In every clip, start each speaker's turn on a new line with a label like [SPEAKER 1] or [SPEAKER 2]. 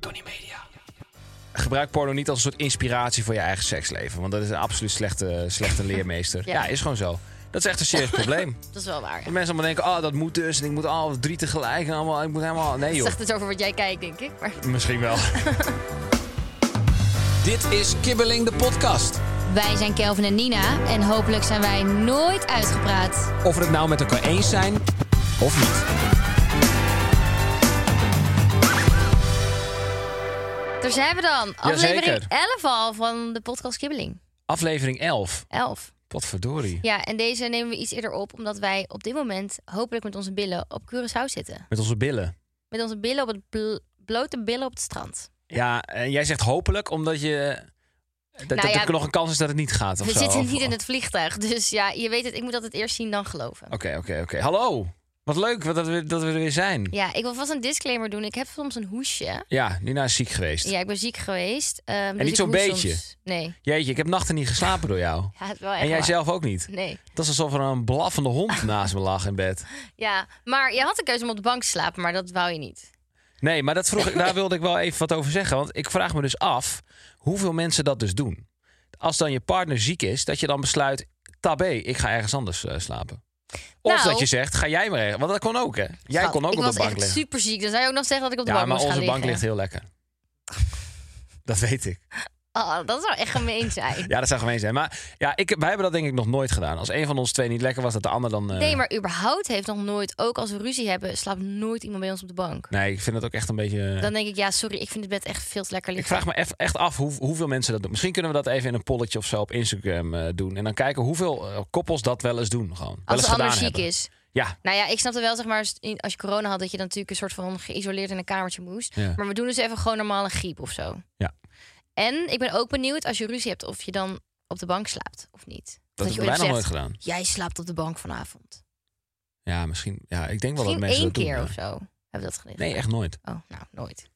[SPEAKER 1] Tony Media. Gebruik porno niet als een soort inspiratie voor je eigen seksleven. Want dat is een absoluut slechte, slechte leermeester. ja.
[SPEAKER 2] Ja.
[SPEAKER 1] is gewoon zo. Dat is echt een serieus probleem.
[SPEAKER 2] Dat is wel waar.
[SPEAKER 1] Dat mensen allemaal denken, oh, dat moet dus. En ik moet al drie tegelijk. En allemaal, ik moet helemaal... Nee,
[SPEAKER 2] Het
[SPEAKER 1] joh.
[SPEAKER 2] zegt iets over wat jij kijkt, denk ik. Maar
[SPEAKER 1] Misschien wel.
[SPEAKER 3] Dit is Kibbeling de podcast.
[SPEAKER 2] wij zijn Kelvin en Nina. En hopelijk zijn wij nooit uitgepraat.
[SPEAKER 3] Of we het nou met elkaar eens zijn of niet.
[SPEAKER 2] Dus Daar zijn we dan. Aflevering
[SPEAKER 1] Jazeker.
[SPEAKER 2] 11 al van de podcast Kibbeling.
[SPEAKER 1] Aflevering 11.
[SPEAKER 2] 11.
[SPEAKER 1] Potverdorie.
[SPEAKER 2] Ja, en deze nemen we iets eerder op, omdat wij op dit moment hopelijk met onze billen op Curaçao zitten.
[SPEAKER 1] Met onze billen.
[SPEAKER 2] Met onze billen op het bl- blote billen op het strand.
[SPEAKER 1] Ja, en jij zegt hopelijk omdat je... Dat, dat
[SPEAKER 2] Nou ja,
[SPEAKER 1] er nog een kans is dat het niet gaat of
[SPEAKER 2] we
[SPEAKER 1] zo.
[SPEAKER 2] zitten
[SPEAKER 1] Of-
[SPEAKER 2] niet in het vliegtuig, dus ja, je weet het. Ik moet dat het eerst zien, dan geloven.
[SPEAKER 1] Oké, oké, oké. Hallo. Wat leuk wat dat, we, dat we er weer zijn. Ja.
[SPEAKER 2] Ja, ik wil vast een disclaimer doen. Ik heb soms een hoesje.
[SPEAKER 1] Nina is ziek geweest.
[SPEAKER 2] Ja, ik ben ziek geweest. ehm, dus
[SPEAKER 1] niet
[SPEAKER 2] ik
[SPEAKER 1] zo'n
[SPEAKER 2] hoes
[SPEAKER 1] beetje.
[SPEAKER 2] soms. Nee.
[SPEAKER 1] Jeetje, ik heb nachten niet geslapen door jou.
[SPEAKER 2] Ja, het is wel echt
[SPEAKER 1] en jij
[SPEAKER 2] waar.
[SPEAKER 1] zelf ook niet.
[SPEAKER 2] Nee.
[SPEAKER 1] Dat is alsof er een blaffende hond naast me lag in bed.
[SPEAKER 2] Ja, maar jij had de keuze om op de bank te slapen, maar dat wou je niet.
[SPEAKER 1] Nee, maar dat vroeg, ik- daar wilde ik wel even wat over zeggen. Want ik vraag me dus af hoeveel mensen dat dus doen. Als dan je partner ziek is, dat je dan besluit... Tabé, ik ga ergens anders eh, slapen. Of
[SPEAKER 2] Nou.
[SPEAKER 1] dat je zegt, ga jij maar ergens. Want dat kon ook, hè? Jij
[SPEAKER 2] Schat,
[SPEAKER 1] kon ook
[SPEAKER 2] ik
[SPEAKER 1] op de
[SPEAKER 2] was
[SPEAKER 1] bank
[SPEAKER 2] echt
[SPEAKER 1] liggen.
[SPEAKER 2] super ziek. Dan zou je ook nog zeggen dat ik op de
[SPEAKER 1] ja,
[SPEAKER 2] bank
[SPEAKER 1] maar
[SPEAKER 2] moest
[SPEAKER 1] onze
[SPEAKER 2] gaan
[SPEAKER 1] bank ligt
[SPEAKER 2] liggen.
[SPEAKER 1] heel lekker. Dat weet ik.
[SPEAKER 2] Oh, dat zou echt gemeen zijn.
[SPEAKER 1] Ja, dat zou gemeen zijn. Maar ja, ik, wij hebben dat denk ik nog nooit gedaan. Als een van ons twee niet lekker was, dat de ander dan... eh,
[SPEAKER 2] Nee, maar überhaupt heeft nog nooit, ook als we ruzie hebben, slaapt nooit iemand bij ons op de bank.
[SPEAKER 1] Nee, ik vind dat ook echt een beetje... eh,
[SPEAKER 2] Dan denk ik, ja, sorry, ik vind het bed echt veel te lekker
[SPEAKER 1] Ik
[SPEAKER 2] liggen.
[SPEAKER 1] vraag me eff- echt af hoe, hoeveel mensen dat doen. Misschien kunnen we dat even in een polletje of zo op Instagram eh, doen. En dan kijken hoeveel eh, koppels dat wel eens doen. Gewoon. wel
[SPEAKER 2] als
[SPEAKER 1] eens
[SPEAKER 2] de ander
[SPEAKER 1] gedaan
[SPEAKER 2] ziek
[SPEAKER 1] hebben.
[SPEAKER 2] is.
[SPEAKER 1] Ja,
[SPEAKER 2] Nou ja, ik snapte wel, zeg maar, als- in- als je corona had, dat je dan natuurlijk een soort van geïsoleerd in een kamertje moest.
[SPEAKER 1] Ja.
[SPEAKER 2] Maar we doen dus even gewoon normaal een griep of zo.
[SPEAKER 1] Ja.
[SPEAKER 2] En ik ben ook benieuwd als je ruzie hebt of je dan op de bank slaapt of niet.
[SPEAKER 1] dat
[SPEAKER 2] je
[SPEAKER 1] hebben
[SPEAKER 2] dus
[SPEAKER 1] wij nog
[SPEAKER 2] ooit zegt,
[SPEAKER 1] nooit gedaan.
[SPEAKER 2] Jij slaapt op de bank vanavond.
[SPEAKER 1] Ja, misschien. Ja, ik denk wel dat
[SPEAKER 2] Misschien
[SPEAKER 1] mensen
[SPEAKER 2] één
[SPEAKER 1] dat doen.
[SPEAKER 2] keer
[SPEAKER 1] ja.
[SPEAKER 2] of zo hebben we dat gedaan.
[SPEAKER 1] Nee, echt nooit.
[SPEAKER 2] Oh, nou, nooit.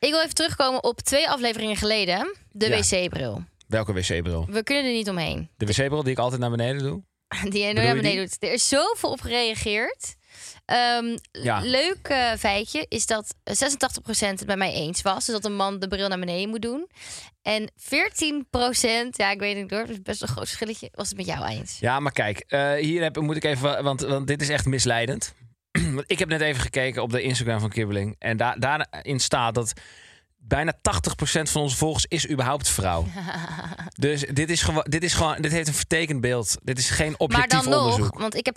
[SPEAKER 2] Ik wil even terugkomen op twee afleveringen geleden. De
[SPEAKER 1] Ja.
[SPEAKER 2] wc-bril.
[SPEAKER 1] Welke wc-bril?
[SPEAKER 2] We kunnen er niet omheen.
[SPEAKER 1] De wc-bril die ik altijd naar beneden doe?
[SPEAKER 2] Die jij
[SPEAKER 1] Bedoel je
[SPEAKER 2] naar
[SPEAKER 1] die?
[SPEAKER 2] beneden doet. Er is zoveel op gereageerd. Ehm,
[SPEAKER 1] Ja.
[SPEAKER 2] Leuk eh, feitje is dat eh, 86% het bij mij eens was. Dus dat een man de bril naar beneden moet doen. En 14%, ja, ik weet het niet hoor. Dat is best wel een groot verschilletje. Was het met jou eens?
[SPEAKER 1] Ja, maar kijk, eh, hier heb, moet ik even, wa- want, want dit is echt misleidend. Want ik heb net even gekeken op de Instagram van Kibbeling. En da daarin staat dat bijna 80% van onze volgers is überhaupt vrouw. dus dit is, gewo- dit is gewoon, dit heeft een vertekend beeld. Dit is geen
[SPEAKER 2] maar
[SPEAKER 1] objectief
[SPEAKER 2] dan nog,
[SPEAKER 1] onderzoek.
[SPEAKER 2] want ik heb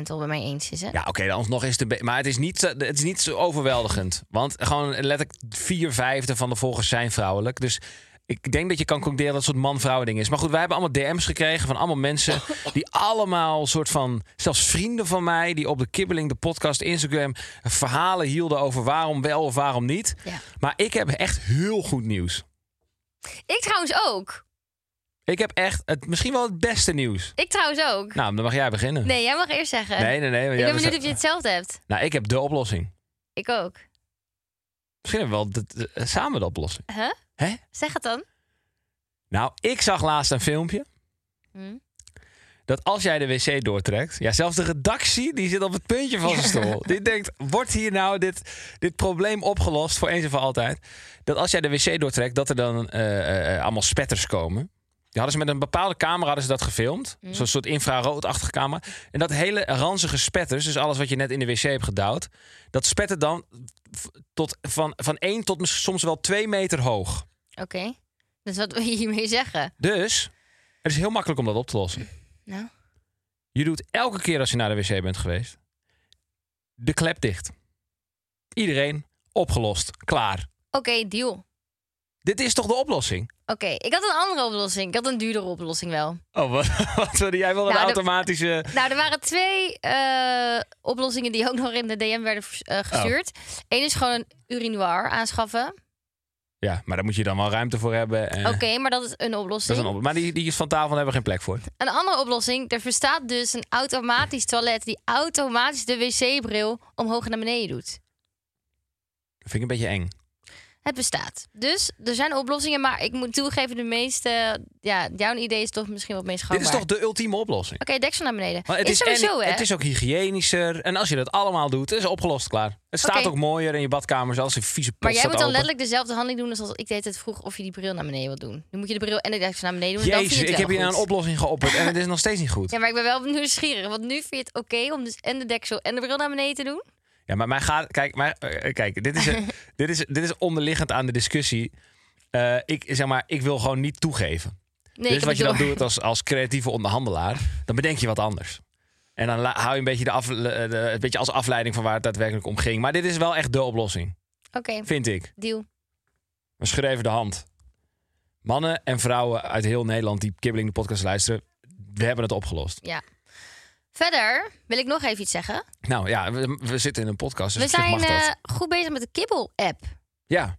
[SPEAKER 2] 86% al bij mij eens is. Hè?
[SPEAKER 1] Ja, oké, dan alsnog is het... een be- Maar het is, niet, zo- het is niet zo overweldigend. Want gewoon letterlijk vier vijfde van de volgers zijn vrouwelijk. Dus ik denk dat je kan concluderen dat het een soort man-vrouw ding is. Maar goed, wij hebben allemaal DM's gekregen van allemaal mensen... die allemaal soort van... zelfs vrienden van mij die op de Kibbeling, de podcast, Instagram... verhalen hielden over waarom wel of waarom niet.
[SPEAKER 2] Ja.
[SPEAKER 1] Maar ik heb echt heel goed nieuws.
[SPEAKER 2] Ik trouwens ook.
[SPEAKER 1] Ik heb echt het, misschien wel het beste nieuws.
[SPEAKER 2] Ik trouwens ook.
[SPEAKER 1] Nou, dan mag jij beginnen.
[SPEAKER 2] Nee, jij mag eerst zeggen.
[SPEAKER 1] nee, nee. nee, want
[SPEAKER 2] ik
[SPEAKER 1] jij
[SPEAKER 2] ben
[SPEAKER 1] was-
[SPEAKER 2] benieuwd of je hetzelfde hebt.
[SPEAKER 1] Nou, ik heb de oplossing.
[SPEAKER 2] Ik ook.
[SPEAKER 1] Misschien hebben we wel de- de- samen de oplossing.
[SPEAKER 2] Huh?
[SPEAKER 1] Hè?
[SPEAKER 2] Zeg het dan.
[SPEAKER 1] Nou, ik zag laatst een filmpje
[SPEAKER 2] Hm?
[SPEAKER 1] dat als jij de wc doortrekt, ja, zelfs de redactie die zit op het puntje van zijn stoel. Die denkt: wordt hier nou dit, dit probleem opgelost voor eens en voor altijd? Dat als jij de wc doortrekt, dat er dan eh, eh, eh, allemaal spetters komen. Die hadden ze met een bepaalde camera hadden ze dat gefilmd. Zo'n soort infraroodachtige camera. En dat hele ranzige spetters, dus alles wat je net in de wc hebt gedouwd, dat spettert dan v- tot, van, van 1 tot mis- soms wel 2 meter hoog.
[SPEAKER 2] Oké. Dus wat wil je hiermee zeggen?
[SPEAKER 1] Dus het is heel makkelijk om dat op te lossen.
[SPEAKER 2] Nou,
[SPEAKER 1] Je doet elke keer als je naar de wc bent geweest, de klep dicht. Iedereen opgelost, klaar.
[SPEAKER 2] oké, deal.
[SPEAKER 1] Dit is toch de oplossing?
[SPEAKER 2] Oké, ik had een andere oplossing. Ik had een duurdere oplossing wel.
[SPEAKER 1] Oh, wat, wat wilde jij wel een
[SPEAKER 2] Nou, de-
[SPEAKER 1] automatische...
[SPEAKER 2] Nou, er waren twee eh, oplossingen die ook nog in de DM werden vers- eh, gestuurd.
[SPEAKER 1] Oh.
[SPEAKER 2] Eén is gewoon een urinoir aanschaffen.
[SPEAKER 1] Ja, maar daar moet je dan wel ruimte voor hebben. En...
[SPEAKER 2] Oké, maar dat is een
[SPEAKER 1] Dat
[SPEAKER 2] oplossing.
[SPEAKER 1] is een op... Maar die, die is van tafel, daar hebben we geen plek voor.
[SPEAKER 2] Een andere oplossing, er bestaat dus een automatisch toilet die automatisch de wc-bril omhoog en naar beneden doet.
[SPEAKER 1] Dat vind ik een beetje eng.
[SPEAKER 2] Het bestaat. Dus er zijn oplossingen, maar ik moet toegeven, de meeste. Ja, jouw idee is toch misschien wat meest
[SPEAKER 1] Dit
[SPEAKER 2] gangbaar.
[SPEAKER 1] is toch de ultieme oplossing?
[SPEAKER 2] Oké, deksel naar beneden.
[SPEAKER 1] Want het
[SPEAKER 2] is,
[SPEAKER 1] en-
[SPEAKER 2] sowieso, hè?
[SPEAKER 1] Het is ook hygiënischer. En als je dat allemaal doet, is het opgelost, klaar. Het staat
[SPEAKER 2] Oké.
[SPEAKER 1] ook mooier in je badkamers. Alles een vieze pot
[SPEAKER 2] maar jij
[SPEAKER 1] staat
[SPEAKER 2] moet dan
[SPEAKER 1] open.
[SPEAKER 2] letterlijk dezelfde handeling doen als als ik deed het vroeg of je die bril naar beneden wilt doen. Dan moet je de bril en de deksel naar beneden doen. en dan
[SPEAKER 1] Jezus,
[SPEAKER 2] vind je
[SPEAKER 1] ik
[SPEAKER 2] het
[SPEAKER 1] heb hier
[SPEAKER 2] wel
[SPEAKER 1] nou een
[SPEAKER 2] goed.
[SPEAKER 1] oplossing geopperd en het is nog steeds niet goed.
[SPEAKER 2] Ja, maar ik ben wel nieuwsgierig. Want nu vind je het oké om dus en de deksel en de bril naar beneden te doen.
[SPEAKER 1] Ja, maar mij gaat. Kijk, maar, eh, kijk dit, is, eh, dit, is, dit is onderliggend aan de discussie. Eh, ik, zeg maar, ik wil gewoon niet toegeven.
[SPEAKER 2] Nee, ik
[SPEAKER 1] dus
[SPEAKER 2] heb
[SPEAKER 1] wat je
[SPEAKER 2] het
[SPEAKER 1] dan
[SPEAKER 2] door.
[SPEAKER 1] doet als, als creatieve onderhandelaar, dan bedenk je wat anders. En dan la- hou je een beetje, de af, le- de- een beetje als afleiding van waar het daadwerkelijk om ging. Maar dit is wel echt de oplossing,
[SPEAKER 2] Oké,
[SPEAKER 1] vind ik.
[SPEAKER 2] deal.
[SPEAKER 1] Een schrijver de hand. Mannen en vrouwen uit heel Nederland die Kibbeling de podcast luisteren, we hebben het opgelost.
[SPEAKER 2] Ja. Verder wil ik nog even iets zeggen.
[SPEAKER 1] Nou ja, we, we zitten in een podcast, dus
[SPEAKER 2] We
[SPEAKER 1] op zich
[SPEAKER 2] zijn
[SPEAKER 1] mag dat.
[SPEAKER 2] eh, goed bezig met de kibbel-app.
[SPEAKER 1] Ja.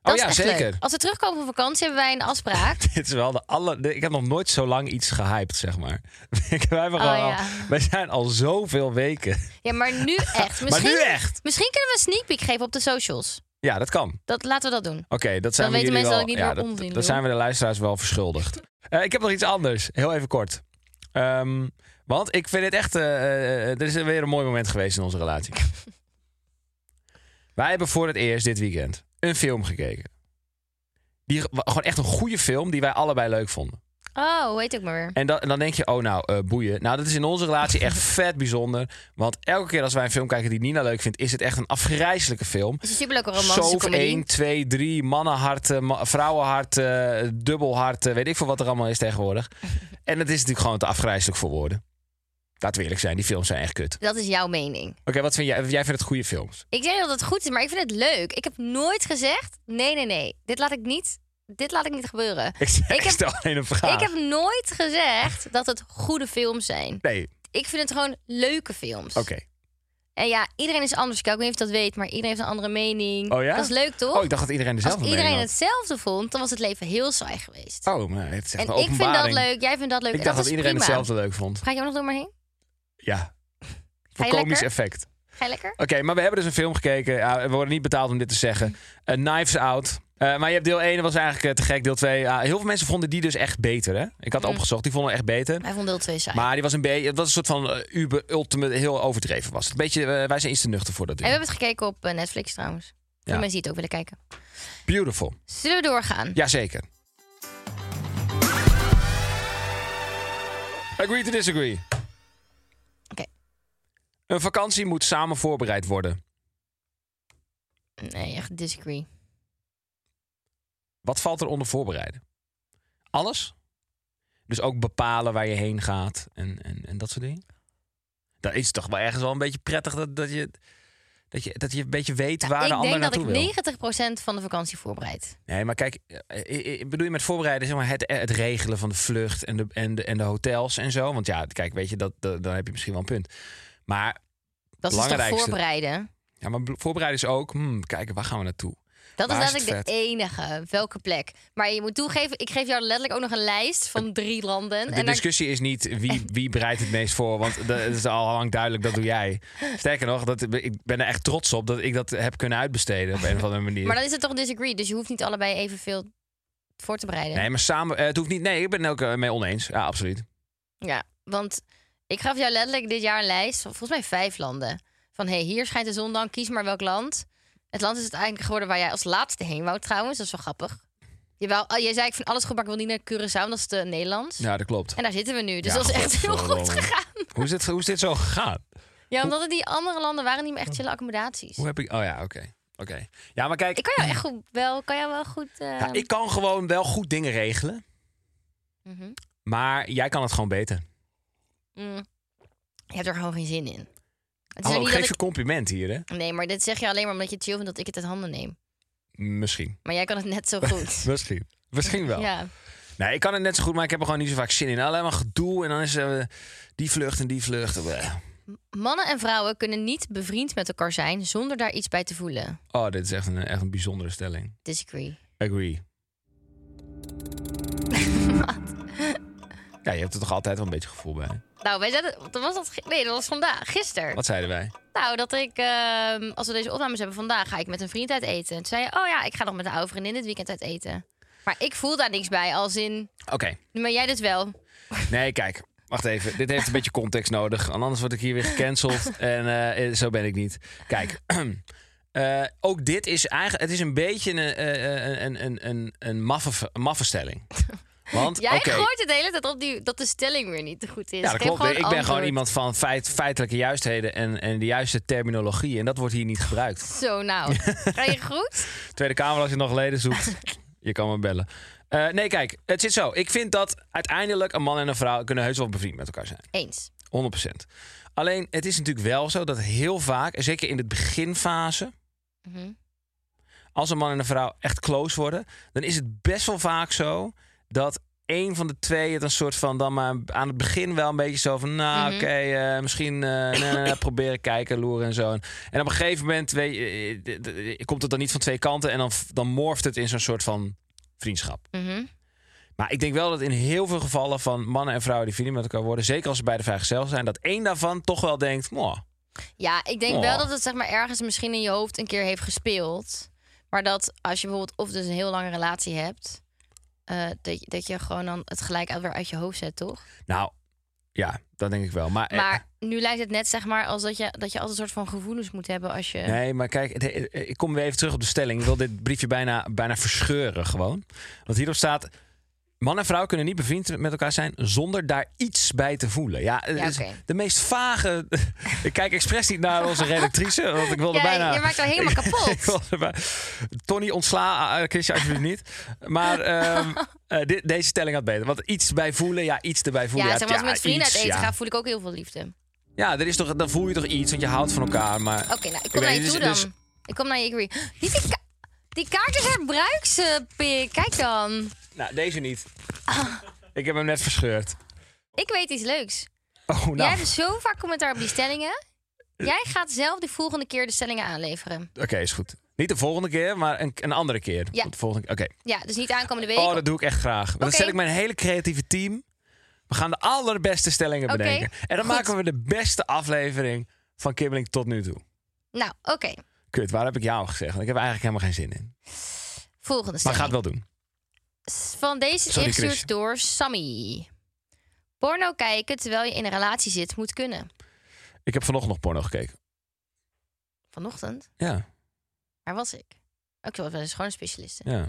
[SPEAKER 2] Dat
[SPEAKER 1] oh
[SPEAKER 2] is
[SPEAKER 1] ja,
[SPEAKER 2] echt
[SPEAKER 1] zeker.
[SPEAKER 2] leuk. Als we terugkomen van vakantie hebben wij een afspraak.
[SPEAKER 1] Dit is wel de alle. de- ik heb nog nooit zo lang iets gehyped, zeg maar. Ik- wij, hebben
[SPEAKER 2] Oh,
[SPEAKER 1] gewoon
[SPEAKER 2] ja.
[SPEAKER 1] al, wij zijn al zoveel weken.
[SPEAKER 2] Ja, maar nu echt. Misschien,
[SPEAKER 1] nu echt.
[SPEAKER 2] Misschien kunnen we een sneak peek geven op de socials.
[SPEAKER 1] Ja, dat kan.
[SPEAKER 2] Dat, laten we dat doen.
[SPEAKER 1] Oké, dat zijn we
[SPEAKER 2] Dan weten
[SPEAKER 1] jullie
[SPEAKER 2] mensen
[SPEAKER 1] wel.
[SPEAKER 2] dat ik niet
[SPEAKER 1] ja,
[SPEAKER 2] meer
[SPEAKER 1] dat,
[SPEAKER 2] onzin
[SPEAKER 1] dat
[SPEAKER 2] doe.
[SPEAKER 1] zijn we de luisteraars wel verschuldigd. Eh, ik heb nog iets anders, heel even kort. Ehm, want ik vind het echt. eh, eh, er is weer een mooi moment geweest in onze relatie. Wij hebben voor het eerst dit weekend een film gekeken. Die, gewoon echt een goede film die wij allebei leuk vonden.
[SPEAKER 2] Oh, hoe heet het ook maar weer?
[SPEAKER 1] En, dat- en dan denk je, oh nou, eh, boeien. Nou, dat is in onze relatie echt vet bijzonder. Want elke keer als wij een film kijken die Nina leuk vindt... is het echt een afgrijzelijke film.
[SPEAKER 2] Het is een superleuke romantische
[SPEAKER 1] Zoof
[SPEAKER 2] comedy.
[SPEAKER 1] 1, 2, 3, mannenharten, ma- vrouwenharten, dubbelharten... weet ik veel wat er allemaal is tegenwoordig. En het is natuurlijk gewoon te afgrijzelijk voor woorden. Laten we eerlijk zijn, die films zijn echt kut. Oké,
[SPEAKER 2] Dat is jouw mening.
[SPEAKER 1] wat vind jij? Jij vindt het goede films.
[SPEAKER 2] Ik zeg niet dat het goed is, maar ik vind het leuk. Ik heb nooit gezegd, nee, nee, nee. Dit laat ik niet, dit laat ik niet gebeuren.
[SPEAKER 1] Ik, ik,
[SPEAKER 2] heb-
[SPEAKER 1] stel alleen een vraag.
[SPEAKER 2] Ik heb nooit gezegd dat het goede films zijn.
[SPEAKER 1] Nee,
[SPEAKER 2] Ik vind het gewoon leuke films.
[SPEAKER 1] oké.
[SPEAKER 2] Mm, En ja, iedereen is anders. Ik weet niet of je dat weet, maar iedereen heeft een andere mening.
[SPEAKER 1] Oh ja?
[SPEAKER 2] Dat is leuk, toch?
[SPEAKER 1] Oh, ik dacht dat iedereen
[SPEAKER 2] Als
[SPEAKER 1] dezelfde mening
[SPEAKER 2] iedereen
[SPEAKER 1] had.
[SPEAKER 2] hetzelfde vond, dan was het leven heel saai geweest.
[SPEAKER 1] Oh, maar het is echt
[SPEAKER 2] en
[SPEAKER 1] een
[SPEAKER 2] ik vind dat
[SPEAKER 1] openbaring.
[SPEAKER 2] leuk, jij vindt dat leuk.
[SPEAKER 1] Ik
[SPEAKER 2] en
[SPEAKER 1] dacht dat
[SPEAKER 2] is
[SPEAKER 1] iedereen
[SPEAKER 2] prima.
[SPEAKER 1] hetzelfde leuk vond.
[SPEAKER 2] Ga je ook nog door maar heen?
[SPEAKER 1] Ja. Voor
[SPEAKER 2] je
[SPEAKER 1] komisch
[SPEAKER 2] lekker?
[SPEAKER 1] effect.
[SPEAKER 2] Ga je lekker?
[SPEAKER 1] Oké, maar we hebben dus een film gekeken. Ja, we worden niet betaald om dit te zeggen. Eh, Knives Out. Eh, maar je hebt deel 1, was eigenlijk eh, te gek. Deel 2, ja, heel veel mensen vonden die dus echt beter. Hè? Ik
[SPEAKER 2] Mhm.
[SPEAKER 1] had opgezocht, die vonden het echt beter.
[SPEAKER 2] Hij vond deel 2 saai.
[SPEAKER 1] Maar die was een beetje, het was een soort van eh, uber ultimate, heel overdreven was. het. Een beetje, eh, wij zijn iets te nuchter voor dat
[SPEAKER 2] En we
[SPEAKER 1] ding.
[SPEAKER 2] hebben het gekeken op eh, Netflix trouwens.
[SPEAKER 1] Ja.
[SPEAKER 2] Voor mensen die het ook willen kijken.
[SPEAKER 1] Beautiful.
[SPEAKER 2] Zullen we doorgaan?
[SPEAKER 1] Jazeker. Agree to disagree.
[SPEAKER 2] Oké.
[SPEAKER 1] Een vakantie moet samen voorbereid worden.
[SPEAKER 2] Nee, echt disagree.
[SPEAKER 1] Wat valt er onder voorbereiden? Alles? Dus ook bepalen waar je heen gaat en, en, en dat soort dingen? Dat is toch wel ergens wel een beetje prettig dat, dat, je, dat, je, dat je een beetje weet waar de
[SPEAKER 2] Nou, ik
[SPEAKER 1] ander
[SPEAKER 2] denk dat
[SPEAKER 1] naartoe
[SPEAKER 2] ik
[SPEAKER 1] wil.
[SPEAKER 2] 90% van de vakantie voorbereid.
[SPEAKER 1] Nee, maar kijk, eh, eh, eh, bedoel je met voorbereiden zeg maar het, het regelen van de vlucht en de, en, de, en de hotels en zo? Want ja, kijk, weet je, dat, dat- dan heb je misschien wel een punt. Maar,
[SPEAKER 2] Dat is toch
[SPEAKER 1] Belangrijkste.
[SPEAKER 2] voorbereiden?
[SPEAKER 1] ja, maar voorbereiden is ook, hmm, kijken, waar gaan we naartoe?
[SPEAKER 2] Dat is
[SPEAKER 1] Waar is het
[SPEAKER 2] letterlijk de enige. Welke plek? Maar je moet toegeven, ik geef jou letterlijk ook nog een lijst van drie landen.
[SPEAKER 1] De
[SPEAKER 2] en dan,
[SPEAKER 1] discussie is niet wie, wie bereidt het meest voor, want dat is al lang duidelijk, dat doe jij. Sterker nog, dat, ik ben er echt trots op dat ik dat heb kunnen uitbesteden op een of andere manier.
[SPEAKER 2] maar dan is het toch een disagree. Dus je hoeft niet allebei evenveel voor te bereiden.
[SPEAKER 1] Nee, maar samen, eh, het hoeft niet. Nee, ik ben het ook eh, mee oneens. Ja, absoluut.
[SPEAKER 2] Ja, want ik gaf jou letterlijk dit jaar een lijst van volgens mij vijf landen. Van hey, hier schijnt de zon dan, kies maar welk land. Het land is het eigenlijk geworden waar jij als laatste heen wou trouwens. Dat is wel grappig. Je, wou, oh, jij zei ik vind alles goed, maar ik wil niet naar Curaçao, dat is de Nederlands.
[SPEAKER 1] Ja, dat klopt.
[SPEAKER 2] En daar zitten we nu, dus
[SPEAKER 1] Ja,
[SPEAKER 2] dat is echt heel goed
[SPEAKER 1] godverdomme.
[SPEAKER 2] gegaan.
[SPEAKER 1] Hoe is dit, hoe is dit zo gegaan?
[SPEAKER 2] Ja, omdat het die andere landen waren niet meer echt chille accommodaties.
[SPEAKER 1] Hoe heb ik. Oh ja, oké. Oké. Ja, maar kijk.
[SPEAKER 2] Ik kan jou echt goed, wel, kan jou wel goed... eh,
[SPEAKER 1] Ja, ik kan gewoon wel goed dingen regelen.
[SPEAKER 2] Mhm.
[SPEAKER 1] Maar jij kan het gewoon beter.
[SPEAKER 2] mm, je hebt er gewoon geen zin in. Het is
[SPEAKER 1] Hallo,
[SPEAKER 2] ook niet
[SPEAKER 1] geef
[SPEAKER 2] dat
[SPEAKER 1] je compliment hier, hè?
[SPEAKER 2] ik... Nee, maar dit zeg je alleen maar omdat je het chill vindt dat ik het uit handen neem.
[SPEAKER 1] Misschien.
[SPEAKER 2] Maar jij kan het net zo goed.
[SPEAKER 1] Misschien. Misschien wel.
[SPEAKER 2] Ja.
[SPEAKER 1] Nee, ik kan het net zo goed, maar ik heb er gewoon niet zo vaak zin in. Alleen maar gedoe en dan is eh, die vlucht en die vlucht. Eh. Bleh.
[SPEAKER 2] Mannen en vrouwen kunnen niet bevriend met elkaar zijn zonder daar iets bij te voelen.
[SPEAKER 1] Oh, dit is echt een, echt een bijzondere stelling.
[SPEAKER 2] Disagree.
[SPEAKER 1] Agree. ja, je hebt er toch altijd wel een beetje gevoel bij.
[SPEAKER 2] Nou, wij zetten, dat was dat, ge- nee, dat was vandaag, gisteren.
[SPEAKER 1] Wat zeiden wij?
[SPEAKER 2] Nou, dat ik, ehm, als we deze opnames hebben vandaag, ga ik met een vriend uit eten. Toen zei je, oh ja, ik ga nog met een oude vriendin dit weekend uit eten. Maar ik voel daar niks bij, als in,
[SPEAKER 1] Oké,
[SPEAKER 2] maar jij dus wel.
[SPEAKER 1] nee, kijk. Wacht even, dit heeft een beetje context nodig. Anders word ik hier weer gecanceld. En eh, zo ben ik niet. Kijk, eh, ook dit is eigenlijk... Het is een beetje een, eh, een, een, een, een maffe, maffe stelling. Want,
[SPEAKER 2] Jij
[SPEAKER 1] oké,
[SPEAKER 2] gooit het de hele tijd op die, dat de stelling weer niet goed is.
[SPEAKER 1] Ja, dat
[SPEAKER 2] Geef
[SPEAKER 1] klopt.
[SPEAKER 2] gewoon
[SPEAKER 1] Ik ben gewoon
[SPEAKER 2] antwoord.
[SPEAKER 1] iemand van feit, feitelijke juistheden en, en de juiste terminologie. En dat wordt hier niet gebruikt.
[SPEAKER 2] Zo, nou. Ga je goed?
[SPEAKER 1] Tweede Kamer, als je nog leden zoekt, je kan me bellen. Eh, nee, kijk, het zit zo. Ik vind dat uiteindelijk een man en een vrouw kunnen heus wel bevriend met elkaar zijn.
[SPEAKER 2] Eens.
[SPEAKER 1] 100%. Alleen, het is natuurlijk wel zo dat heel vaak, en zeker in de beginfase,
[SPEAKER 2] Mhm.
[SPEAKER 1] als een man en een vrouw echt close worden, dan is het best wel vaak zo dat een van de twee het een soort van dan maar aan het begin wel een beetje zo van, nou oké, eh, misschien eh, nee, nee, nee, proberen kijken, loeren en zo. En op een gegeven moment weet je, eh, d- d- d- komt het dan niet van twee kanten en dan, f- dan morft het in zo'n soort van vriendschap.
[SPEAKER 2] Mhm.
[SPEAKER 1] Maar ik denk wel dat in heel veel gevallen van mannen en vrouwen die vrienden met elkaar worden, zeker als ze beide vrijgezel zijn, dat één daarvan toch wel denkt, "Mwah,
[SPEAKER 2] Ja, ik denk
[SPEAKER 1] Oh.
[SPEAKER 2] wel dat het zeg maar ergens misschien in je hoofd een keer heeft gespeeld. Maar dat als je bijvoorbeeld of dus een heel lange relatie hebt, eh, dat, je, dat je gewoon dan het gelijk al weer uit je hoofd zet, toch?
[SPEAKER 1] nou ja, dat denk ik wel. Maar, eh,
[SPEAKER 2] Maar nu lijkt het net zeg maar als dat je, dat je altijd een soort van gevoelens moet hebben als je...
[SPEAKER 1] Nee, maar kijk, het- eh, ik kom weer even terug op de stelling. Ik wil dit briefje bijna, bijna verscheuren gewoon. Want hierop staat... Man en vrouw kunnen niet bevriend met elkaar zijn zonder daar iets bij te voelen. Ja, het
[SPEAKER 2] Ja,
[SPEAKER 1] is
[SPEAKER 2] oké.
[SPEAKER 1] de meest vage... ik kijk expres niet naar onze redactrice, want ik wilde
[SPEAKER 2] Ja,
[SPEAKER 1] bijna...
[SPEAKER 2] je maakt haar helemaal kapot.
[SPEAKER 1] Ik wilde bij- Tony, ontsla eh, Chrisje alsjeblieft niet. Maar ehm, eh, dit- deze stelling had beter. Want iets bij voelen, ja, iets erbij
[SPEAKER 2] ja,
[SPEAKER 1] voelen.
[SPEAKER 2] zeg maar als ik met vrienden
[SPEAKER 1] iets,
[SPEAKER 2] uit eten
[SPEAKER 1] ja.
[SPEAKER 2] ga, voel ik ook heel veel liefde. Oké,
[SPEAKER 1] Ja, er is toch, dan voel je toch iets, want je houdt van elkaar. Maar...
[SPEAKER 2] nou, ik kom
[SPEAKER 1] weet
[SPEAKER 2] naar je
[SPEAKER 1] niet,
[SPEAKER 2] toe
[SPEAKER 1] dus-
[SPEAKER 2] dan.
[SPEAKER 1] dus-
[SPEAKER 2] Ik kom naar je, agree. Niet die, ka- die kaart is herbruikspik. Kijk dan.
[SPEAKER 1] Nou, deze niet.
[SPEAKER 2] Ah.
[SPEAKER 1] Ik heb hem net verscheurd.
[SPEAKER 2] Ik weet iets leuks.
[SPEAKER 1] Oh, nou.
[SPEAKER 2] Jij hebt zo vaak commentaar op die stellingen. Jij gaat zelf de volgende keer de stellingen aanleveren.
[SPEAKER 1] Oké, is goed. Niet de volgende keer, maar een, een andere keer.
[SPEAKER 2] Ja.
[SPEAKER 1] De volgende... Oké.
[SPEAKER 2] Ja, dus niet aankomende week.
[SPEAKER 1] Oh, dat doe ik echt graag. Want Dan
[SPEAKER 2] Oké.
[SPEAKER 1] zet ik mijn hele creatieve team. We gaan de allerbeste stellingen
[SPEAKER 2] Oké,
[SPEAKER 1] bedenken. En dan
[SPEAKER 2] goed.
[SPEAKER 1] maken we de beste aflevering van Kibbeling tot nu toe.
[SPEAKER 2] Nou, oké.
[SPEAKER 1] Kut, waar heb ik jou gezegd? Want ik heb er eigenlijk helemaal geen zin in.
[SPEAKER 2] Volgende
[SPEAKER 1] Maar
[SPEAKER 2] stelling.
[SPEAKER 1] ga het wel doen.
[SPEAKER 2] Van deze is
[SPEAKER 1] Sorry, Chris.
[SPEAKER 2] ingestuurd door Sammy. Porno kijken terwijl je in een relatie zit moet kunnen.
[SPEAKER 1] Ik heb vanochtend nog porno gekeken.
[SPEAKER 2] Vanochtend,
[SPEAKER 1] Ja,
[SPEAKER 2] waar was ik? Oh, Ik was wel eens gewoon een specialiste.
[SPEAKER 1] ja.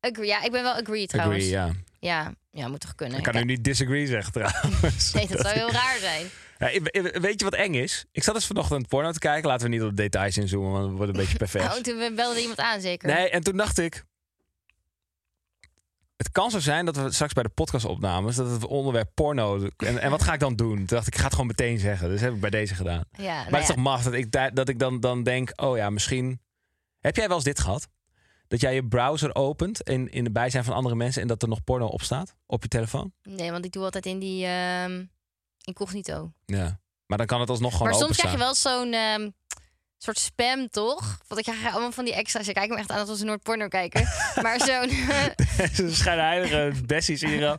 [SPEAKER 2] Agree, ja, ik ben wel agree trouwens.
[SPEAKER 1] Agree, ja.
[SPEAKER 2] ja. ja, moet toch kunnen.
[SPEAKER 1] Ik kan nu niet disagree zeggen trouwens.
[SPEAKER 2] Nee, dat zou heel raar zijn.
[SPEAKER 1] Ja, ik- ik- weet je wat eng is? Ik zat dus vanochtend porno te kijken. Laten we niet op de details inzoomen, want het wordt een beetje
[SPEAKER 2] Oh,
[SPEAKER 1] pervers.
[SPEAKER 2] toen belde iemand aan zeker.
[SPEAKER 1] Nee, en toen dacht ik... Het kan zo zijn dat we straks bij de podcastopnames... dat het onderwerp porno... En, en wat ga ik dan doen? Toen dacht ik, ik ga het gewoon meteen zeggen. Dus heb ik bij deze gedaan.
[SPEAKER 2] Ja, nou
[SPEAKER 1] maar het
[SPEAKER 2] ja.
[SPEAKER 1] is toch maf dat ik, da- dat ik dan, dan denk... Oh ja, misschien... Heb jij wel eens dit gehad? Dat jij je browser opent in, in de bijzijn van andere mensen... en dat er nog porno op staat op je telefoon?
[SPEAKER 2] Nee, want ik doe altijd in die ehm incognito.
[SPEAKER 1] Ja. Maar dan kan het alsnog gewoon
[SPEAKER 2] maar soms
[SPEAKER 1] openstaan.
[SPEAKER 2] krijg je wel zo'n ehm, soort spam, toch? Want ik krijg allemaal van die extra's. Ik kijk me echt aan als we nooit porno kijken. maar zo'n...
[SPEAKER 1] Ze schijnheilige Bessies hier. al.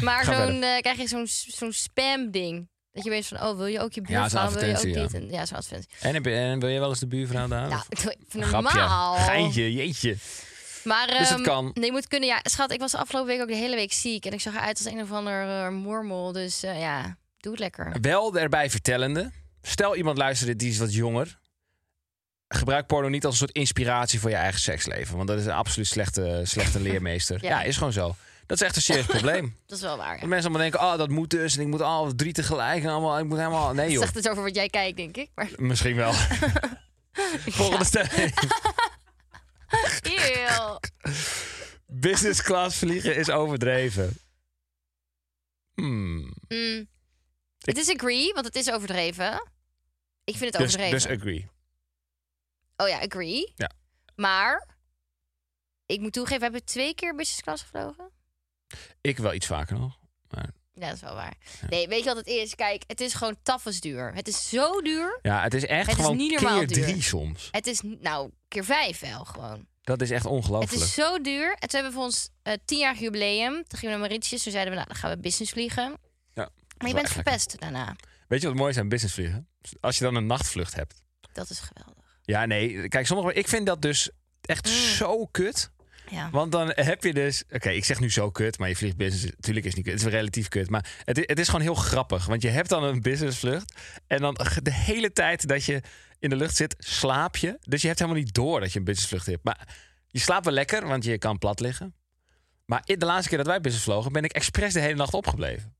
[SPEAKER 2] maar
[SPEAKER 1] Ga
[SPEAKER 2] zo'n... eh, krijg je zo'n zo'n spam-ding. Dat je weet van, oh, wil je ook je
[SPEAKER 1] Ja, zo'n
[SPEAKER 2] buurvrouw? wil je ook
[SPEAKER 1] advertentie,
[SPEAKER 2] dit?
[SPEAKER 1] ja.
[SPEAKER 2] En, ja, zo'n advertentie.
[SPEAKER 1] En, heb je- en wil je wel eens de buurvrouw daar?
[SPEAKER 2] Nou,
[SPEAKER 1] Of-
[SPEAKER 2] even
[SPEAKER 1] Grapje.
[SPEAKER 2] normaal.
[SPEAKER 1] Geintje, jeetje.
[SPEAKER 2] Maar,
[SPEAKER 1] Dus dat
[SPEAKER 2] ehm,
[SPEAKER 1] kan.
[SPEAKER 2] Nee, je moet kunnen. Ja, schat, ik was afgelopen week ook de hele week ziek. En ik zag eruit als een of ander eh, mormel. Dus eh, ja, doe het lekker.
[SPEAKER 1] Wel erbij vertellende. Stel iemand luistert dit, die is wat jonger. Gebruik porno niet als een soort inspiratie voor je eigen seksleven. Want dat is een absoluut slechte, slechte leermeester. ja.
[SPEAKER 2] Ja.
[SPEAKER 1] is gewoon zo. Dat is echt een serieus probleem.
[SPEAKER 2] Dat is wel waar.
[SPEAKER 1] Dat mensen allemaal denken, oh, dat moet dus. En ik moet al drie tegelijk. En allemaal, ik moet helemaal... Nee,
[SPEAKER 2] Het
[SPEAKER 1] joh.
[SPEAKER 2] zegt het over wat jij kijkt, denk ik. Maar
[SPEAKER 1] Misschien wel. Volgende stelling.
[SPEAKER 2] Eeuw.
[SPEAKER 1] Business class vliegen is overdreven. Hmm.
[SPEAKER 2] Mm. Het is agree, want het is overdreven. Ik vind
[SPEAKER 1] Dus,
[SPEAKER 2] het overdreven.
[SPEAKER 1] dus agree.
[SPEAKER 2] oh ja, agree.
[SPEAKER 1] Ja.
[SPEAKER 2] Maar ik moet toegeven, heb ik twee keer business class gevlogen.
[SPEAKER 1] Ik wel iets vaker nog. Maar
[SPEAKER 2] Ja, dat is wel waar. Nee, weet je wat het is? Kijk, het is gewoon tafels duur. Het is zo duur.
[SPEAKER 1] ja, het is echt
[SPEAKER 2] Het is
[SPEAKER 1] gewoon
[SPEAKER 2] niet normaal
[SPEAKER 1] keer
[SPEAKER 2] duur.
[SPEAKER 1] drie soms.
[SPEAKER 2] Het is, nou, keer vijf wel gewoon.
[SPEAKER 1] Dat is echt
[SPEAKER 2] Het
[SPEAKER 1] ongelooflijk.
[SPEAKER 2] is zo duur. En toen hebben we voor ons eh, tienjarig jubileum. Toen gingen we naar Mauritius. Toen zeiden we, nou, dan gaan we business vliegen.
[SPEAKER 1] Ja, dat is
[SPEAKER 2] Maar
[SPEAKER 1] wel
[SPEAKER 2] je bent
[SPEAKER 1] echt lekker.
[SPEAKER 2] verpest daarna.
[SPEAKER 1] Weet je wat mooi is aan businessvliegen? Als je dan een nachtvlucht hebt.
[SPEAKER 2] Dat is geweldig.
[SPEAKER 1] Ja, nee. Kijk, sommige... Ik vind dat dus echt zo kut.
[SPEAKER 2] Mm. Ja.
[SPEAKER 1] Want dan heb je dus... Oké, ik zeg nu zo kut, maar je vliegt business... Natuurlijk is het niet kut. Het is wel relatief kut. Maar het, i- het is gewoon heel grappig. Want je hebt dan een businessvlucht. En dan g- de hele tijd dat je in de lucht zit, slaap je. Dus je hebt helemaal niet door dat je een businessvlucht hebt. Maar je slaapt wel lekker, want je kan plat liggen. Maar i- de laatste keer dat wij business vlogen, ben ik expres de hele nacht opgebleven.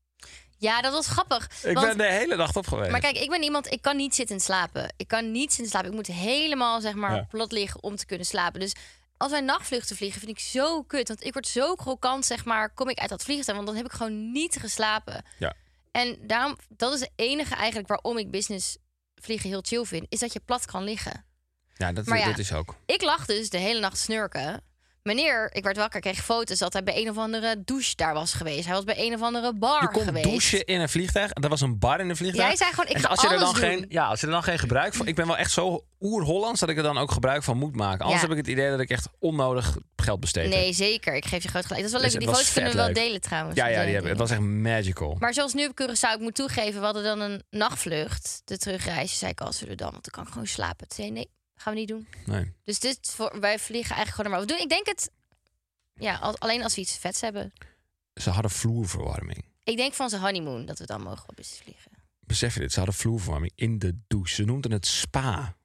[SPEAKER 2] ja, dat was grappig.
[SPEAKER 1] Ik
[SPEAKER 2] want-
[SPEAKER 1] ben de hele nacht opgebleven.
[SPEAKER 2] Maar kijk, ik ben iemand, ik kan niet zitten en slapen. Ik kan niet zitten slapen. Ik moet helemaal, zeg maar,
[SPEAKER 1] Ja.
[SPEAKER 2] plat liggen om te kunnen slapen. Dus als wij nachtvluchten vliegen, vind ik zo kut. Want ik word zo krokant, zeg maar, kom ik uit dat vliegtuig. Want dan heb ik gewoon niet geslapen.
[SPEAKER 1] Ja.
[SPEAKER 2] En daarom, dat is het enige eigenlijk waarom ik business vliegen heel chill vind. Is dat je plat kan liggen.
[SPEAKER 1] Ja, dat,
[SPEAKER 2] Maar ja.
[SPEAKER 1] dat is ook.
[SPEAKER 2] Ik lag dus de hele nacht snurken. Meneer, ik werd wakker, kreeg foto's dat hij bij een of andere douche daar was geweest. Hij was bij een of andere bar
[SPEAKER 1] Je kon
[SPEAKER 2] geweest.
[SPEAKER 1] douchen in een vliegtuig. Er was een bar in een vliegtuig.
[SPEAKER 2] Jij zei gewoon, ik
[SPEAKER 1] En
[SPEAKER 2] ga
[SPEAKER 1] als je er
[SPEAKER 2] alles
[SPEAKER 1] dan Geen,
[SPEAKER 2] doen.
[SPEAKER 1] ja, als je er dan geen gebruik van... Ik ben wel echt zo oer-Hollands dat ik er dan ook gebruik van moet maken. Anders
[SPEAKER 2] Ja.
[SPEAKER 1] heb ik het idee dat ik echt onnodig geld besteed heb.
[SPEAKER 2] Nee, zeker. Ik geef je groot gelijk. Dat is wel leuk.
[SPEAKER 1] Dus
[SPEAKER 2] Die
[SPEAKER 1] het was
[SPEAKER 2] foto's kunnen we
[SPEAKER 1] vet
[SPEAKER 2] wel
[SPEAKER 1] leuk.
[SPEAKER 2] delen trouwens.
[SPEAKER 1] Ja,
[SPEAKER 2] Dat
[SPEAKER 1] ja
[SPEAKER 2] zijn
[SPEAKER 1] die hebben,
[SPEAKER 2] dingen.
[SPEAKER 1] het was echt magical.
[SPEAKER 2] Maar zoals nu op Curaçao, ik moet toegeven, we hadden dan een nachtvlucht. De terugreis. Zei ik, als we er dan, want dan kan ik gewoon slapen. Toen zei hij, nee, gaan we niet doen.
[SPEAKER 1] Nee.
[SPEAKER 2] Dus dit voor, wij vliegen eigenlijk gewoon naar we doen. Ik denk het, ja, al- alleen als we iets vets hebben.
[SPEAKER 1] Ze hadden vloerverwarming.
[SPEAKER 2] Ik denk van zijn honeymoon dat we dan mogen op business vliegen.
[SPEAKER 1] Besef je dit? Ze hadden vloerverwarming in de douche. Ze noemden het spa.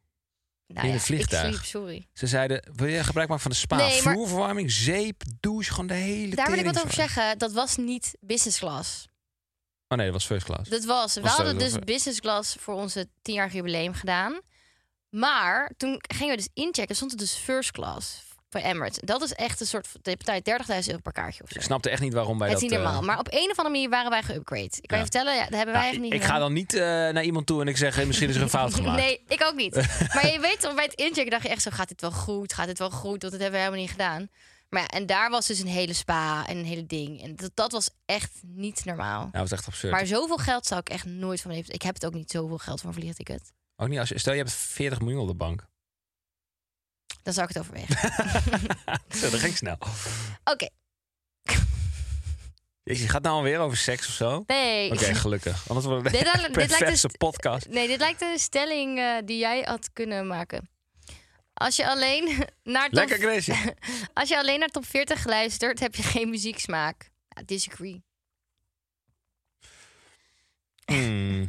[SPEAKER 2] Nou
[SPEAKER 1] In
[SPEAKER 2] ja,
[SPEAKER 1] het vliegtuig.
[SPEAKER 2] Ik sliep, sorry.
[SPEAKER 1] Ze zeiden, wil je gebruik maken van de spa?
[SPEAKER 2] Nee, maar-
[SPEAKER 1] Vloerverwarming, zeep, douche, gewoon de hele
[SPEAKER 2] Daar wil ik wat over
[SPEAKER 1] teringzooi.
[SPEAKER 2] zeggen. Dat was niet business class.
[SPEAKER 1] Oh nee, dat was first class.
[SPEAKER 2] Dat was. We
[SPEAKER 1] Was dat
[SPEAKER 2] hadden
[SPEAKER 1] het
[SPEAKER 2] dus
[SPEAKER 1] over?
[SPEAKER 2] business class voor onze tienjarig jubileum gedaan. Maar toen gingen we dus inchecken. Stond het dus first class bij Emirates. Dat is echt een soort van de partij 30.000 euro per kaartje of zo.
[SPEAKER 1] Ik snapte echt niet waarom wij
[SPEAKER 2] het is
[SPEAKER 1] dat...
[SPEAKER 2] niet
[SPEAKER 1] eh,
[SPEAKER 2] normaal. Maar op een of andere manier waren wij geüpgrade. Ik kan
[SPEAKER 1] Ja.
[SPEAKER 2] je vertellen, ja, dat hebben wij
[SPEAKER 1] nou,
[SPEAKER 2] eigenlijk niet
[SPEAKER 1] ik ga
[SPEAKER 2] gedaan.
[SPEAKER 1] dan niet eh, naar iemand toe en ik zeg, hey, misschien is er een fout gemaakt. Nou,
[SPEAKER 2] Nee, ik ook niet. Maar je weet, toch, bij het inchecken dacht je echt zo... gaat dit wel goed, gaat dit wel goed? Want dat hebben we helemaal niet gedaan. Maar ja, en daar was dus een hele spa en een hele ding. En dat, dat was echt niet normaal.
[SPEAKER 1] Ja, dat was echt absurd.
[SPEAKER 2] Maar zoveel geld zou ik echt nooit van mijn leven... Ik heb het ook niet zoveel geld van een vliegticket.
[SPEAKER 1] Ook niet als je, stel je hebt 40 miljoen op de bank.
[SPEAKER 2] Dan zou ik het overwegen.
[SPEAKER 1] Zo, dat ging snel.
[SPEAKER 2] Oké,
[SPEAKER 1] Jezus, je gaat nou alweer over seks of zo?
[SPEAKER 2] nee.
[SPEAKER 1] Oké, gelukkig. Anders wordt het
[SPEAKER 2] Dit
[SPEAKER 1] echt
[SPEAKER 2] lijkt-
[SPEAKER 1] een
[SPEAKER 2] dit lijkt
[SPEAKER 1] perverse
[SPEAKER 2] dus-
[SPEAKER 1] podcast.
[SPEAKER 2] Nee, dit lijkt een stelling eh, die jij had kunnen maken. Als je alleen naar top,
[SPEAKER 1] Lekker, Gracie.
[SPEAKER 2] als je alleen naar top 40 luistert, heb je geen muzieksmaak. Ja, disagree.
[SPEAKER 1] Hmm.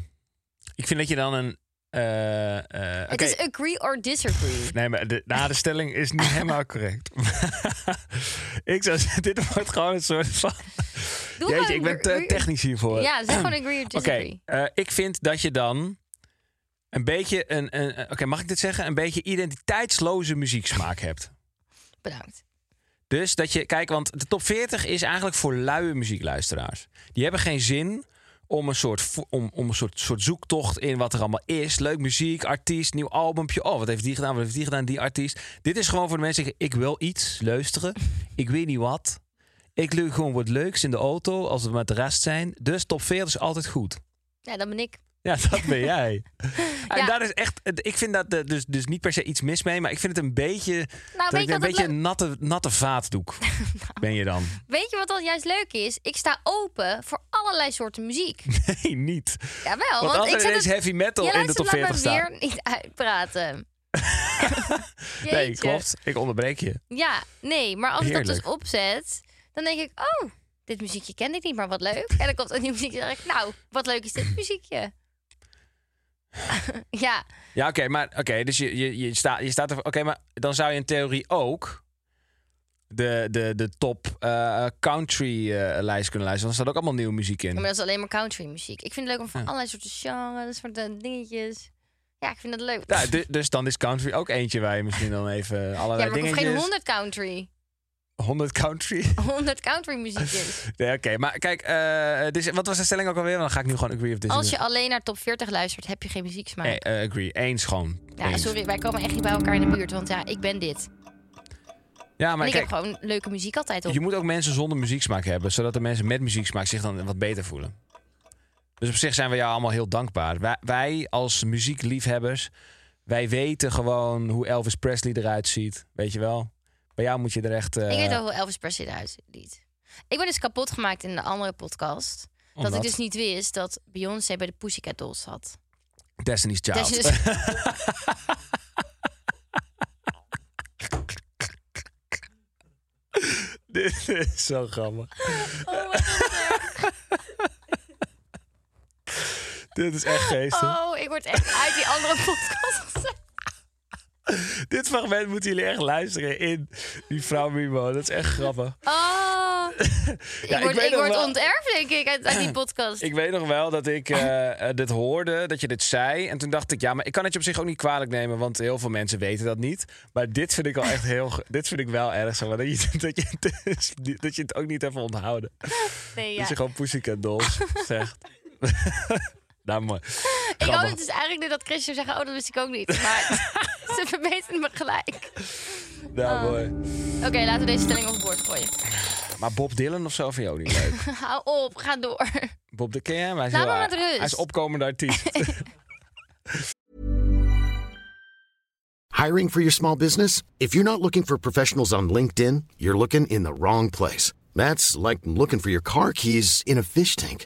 [SPEAKER 1] Ik vind dat je dan een... eh, eh,
[SPEAKER 2] Het
[SPEAKER 1] oké.
[SPEAKER 2] is agree or disagree.
[SPEAKER 1] Nee, maar de, nou, de stelling is niet helemaal correct. ik zou zeggen, dit wordt gewoon een soort van...
[SPEAKER 2] Doe
[SPEAKER 1] Jeetje,
[SPEAKER 2] gewoon
[SPEAKER 1] ik ben te
[SPEAKER 2] agree-
[SPEAKER 1] technisch hiervoor.
[SPEAKER 2] Ja, zeg gewoon agree or
[SPEAKER 1] Oké,
[SPEAKER 2] disagree.
[SPEAKER 1] eh, ik vind dat je dan een beetje een... een Oké, mag ik dit zeggen? Een beetje identiteitsloze muzieksmaak hebt.
[SPEAKER 2] Bedankt.
[SPEAKER 1] Dus dat je, kijk, want de top 40 is eigenlijk voor luie muziekluisteraars. Die hebben geen zin om een soort, vo- om, om een soort, soort zoektocht in wat er allemaal is. Leuk muziek, artiest, nieuw albumpje. Oh, wat heeft die gedaan? Wat heeft die gedaan? Die artiest. Dit is gewoon voor de mensen die zeggen: ik wil iets luisteren. Ik weet niet wat. Ik leuk gewoon wat leuks in de auto als we met de rest zijn. Dus top 40 is altijd goed.
[SPEAKER 2] Ja, dan ben ik.
[SPEAKER 1] Ja, dat ben jij. En
[SPEAKER 2] Ja.
[SPEAKER 1] daar is echt, ik vind dat eh, dus, dus niet per se iets mis mee, maar ik vind het een beetje, dat
[SPEAKER 2] Nou, weet
[SPEAKER 1] ik
[SPEAKER 2] je
[SPEAKER 1] een
[SPEAKER 2] wat
[SPEAKER 1] beetje
[SPEAKER 2] het Nou.
[SPEAKER 1] een natte, natte vaatdoek ben je dan.
[SPEAKER 2] Weet je wat dan juist leuk is? Ik sta open voor allerlei soorten muziek.
[SPEAKER 1] Nee, niet.
[SPEAKER 2] Jawel,
[SPEAKER 1] Want,
[SPEAKER 2] want
[SPEAKER 1] als
[SPEAKER 2] ik
[SPEAKER 1] er
[SPEAKER 2] zet
[SPEAKER 1] ineens
[SPEAKER 2] het-
[SPEAKER 1] heavy metal
[SPEAKER 2] Je
[SPEAKER 1] in de
[SPEAKER 2] luistert,
[SPEAKER 1] top 40
[SPEAKER 2] laat me
[SPEAKER 1] staat.
[SPEAKER 2] weer niet uitpraten.
[SPEAKER 1] Nee,
[SPEAKER 2] Jeetje.
[SPEAKER 1] klopt. Ik onderbreek je.
[SPEAKER 2] Ja, nee, maar als ik dat dus
[SPEAKER 1] Heerlijk.
[SPEAKER 2] opzet, dan denk ik, oh, dit muziekje ken ik niet, maar wat leuk. En dan komt een nieuw muziekje en dan denk ik, nou, wat leuk is dit muziekje. ja,
[SPEAKER 1] Ja, oké, maar oké, dus je, je, je, staat je staat er. Oké, maar dan zou je in theorie ook de, de, de top eh, country eh, lijst kunnen luisteren. Dan staat ook allemaal nieuwe muziek in.
[SPEAKER 2] maar dat is alleen maar country muziek. Ik vind het leuk om van allerlei soorten genres, soorten dingetjes. Ja, ik vind dat leuk.
[SPEAKER 1] Ja, du- dus dan is country ook eentje waar je misschien dan even
[SPEAKER 2] ja,
[SPEAKER 1] allerlei
[SPEAKER 2] maar ik hoef
[SPEAKER 1] dingetjes...
[SPEAKER 2] geen 100 country.
[SPEAKER 1] 100 country.
[SPEAKER 2] 100 country muziekjes.
[SPEAKER 1] Nee, oké, maar kijk, eh, dus, wat was de stelling ook alweer? Want dan ga ik nu gewoon agree of disagree.
[SPEAKER 2] Als je alleen naar top 40 luistert, heb je geen muzieksmaak.
[SPEAKER 1] Nee, eh, agree. Eens gewoon.
[SPEAKER 2] Ja,
[SPEAKER 1] Eens.
[SPEAKER 2] sorry, wij komen echt niet bij elkaar in de buurt, want ja, ik ben dit.
[SPEAKER 1] Ja,
[SPEAKER 2] en
[SPEAKER 1] maar
[SPEAKER 2] ik
[SPEAKER 1] kijk,
[SPEAKER 2] heb gewoon leuke muziek altijd op.
[SPEAKER 1] je moet ook mensen zonder muzieksmaak hebben, zodat de mensen met muzieksmaak zich dan wat beter voelen. Dus op zich zijn we jou allemaal heel dankbaar. Wij, wij als muziekliefhebbers, wij weten gewoon hoe Elvis Presley eruit ziet. Weet je wel? Bij jou moet je er echt. eh,
[SPEAKER 2] Ik weet wel hoe Elvis Presley eruit ziet. Ik ben dus kapot gemaakt in de andere podcast. Dat
[SPEAKER 1] Omdat?
[SPEAKER 2] ik dus niet wist dat Beyoncé bij de Pussycat Dolls zat.
[SPEAKER 1] Destiny's Child.
[SPEAKER 2] Dat is dus-
[SPEAKER 1] Dit is zo grappig.
[SPEAKER 2] Oh,
[SPEAKER 1] Dit is echt geestig.
[SPEAKER 2] oh, ik word echt uit die andere podcast gezet.
[SPEAKER 1] Dit fragment moeten jullie echt luisteren in die vrouw Mimo. Dat is echt grappig.
[SPEAKER 2] Oh, ik word,
[SPEAKER 1] weet
[SPEAKER 2] ik
[SPEAKER 1] nog
[SPEAKER 2] word
[SPEAKER 1] wel-
[SPEAKER 2] onterfd, denk ik, uit, uit die podcast.
[SPEAKER 1] Ik weet nog wel dat ik eh, eh, dit hoorde, dat je dit zei. En toen dacht ik, ja, maar ik kan het je op zich ook niet kwalijk nemen, want heel veel mensen weten dat niet. Maar dit vind ik wel echt heel. ge- dit vind ik wel erg. Zeg maar, dat, je, dat, je, dat je het ook niet even onthouden.
[SPEAKER 2] nee, ja.
[SPEAKER 1] Dat je gewoon Pussycat Dolls zegt. nou, mooi.
[SPEAKER 2] Ik
[SPEAKER 1] Grappig.
[SPEAKER 2] hoop het dus eigenlijk nu dat Christian zegt, oh, dat wist ik ook niet. Maar ze verbeteren me gelijk.
[SPEAKER 1] Nou, mooi.
[SPEAKER 2] Oké, laten we deze stelling overboord gooien.
[SPEAKER 1] Maar Bob Dylan of zo vind je ook niet leuk.
[SPEAKER 2] Hou op, ga door.
[SPEAKER 1] Bob de Ken, hij is,
[SPEAKER 2] Laat
[SPEAKER 1] heel-
[SPEAKER 2] me met rust.
[SPEAKER 1] hij is opkomende artiest.
[SPEAKER 4] Hiring for your small business? If you're not looking for professionals on LinkedIn, you're looking in the wrong place. That's like looking for your car keys in a fish tank.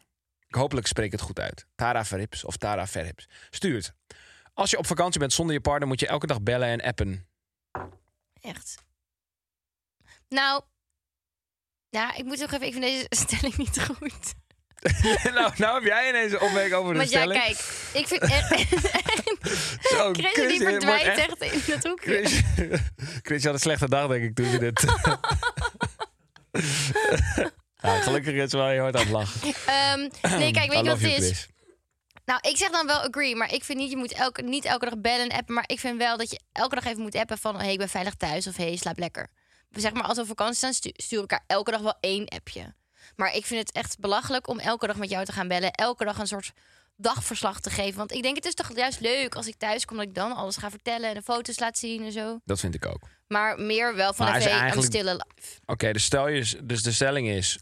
[SPEAKER 1] Ik Hopelijk spreek ik het goed uit. Tara Verrips of Tara Verrips. Stuurt. Als je op vakantie bent zonder je partner, moet je elke dag bellen en appen.
[SPEAKER 2] Echt. Nou, ja, ik moet toch even, ik vind deze stelling niet goed.
[SPEAKER 1] nou, nou heb jij ineens een opmerking over de
[SPEAKER 2] Want ja,
[SPEAKER 1] stelling.
[SPEAKER 2] kijk, ik vind echt...
[SPEAKER 1] Zo,
[SPEAKER 2] Christian die
[SPEAKER 1] Christian, het wordt
[SPEAKER 2] verdwijnt
[SPEAKER 1] echt-
[SPEAKER 2] echt in dat hoekje.
[SPEAKER 1] Chris, Chris je had een slechte dag, denk ik, toen je dit... nou, gelukkig is wel je hoort aan het lachen.
[SPEAKER 2] Ehm, nee, kijk, weet
[SPEAKER 1] I
[SPEAKER 2] je wat
[SPEAKER 1] love
[SPEAKER 2] het
[SPEAKER 1] you,
[SPEAKER 2] is?
[SPEAKER 1] Chris.
[SPEAKER 2] Nou, ik zeg dan wel agree, maar ik vind niet, je moet elke, niet elke dag bellen en appen. Maar ik vind wel dat je elke dag even moet appen van, hey, ik ben veilig thuis of hey, slaap lekker. We Zeg maar, als we op vakantie zijn, stu- sturen we elkaar elke dag wel één appje. Maar ik vind het echt belachelijk om elke dag met jou te gaan bellen. Elke dag een soort dagverslag te geven. Want ik denk, het is toch juist leuk als ik thuis kom dat ik dan alles ga vertellen en de foto's laat zien en zo.
[SPEAKER 1] Dat vind ik ook.
[SPEAKER 2] Maar meer wel van,
[SPEAKER 1] Maar
[SPEAKER 2] even,
[SPEAKER 1] is
[SPEAKER 2] hey, I'm
[SPEAKER 1] eigenlijk-
[SPEAKER 2] still alive.
[SPEAKER 1] Oké, dus stel je, dus de stelling is: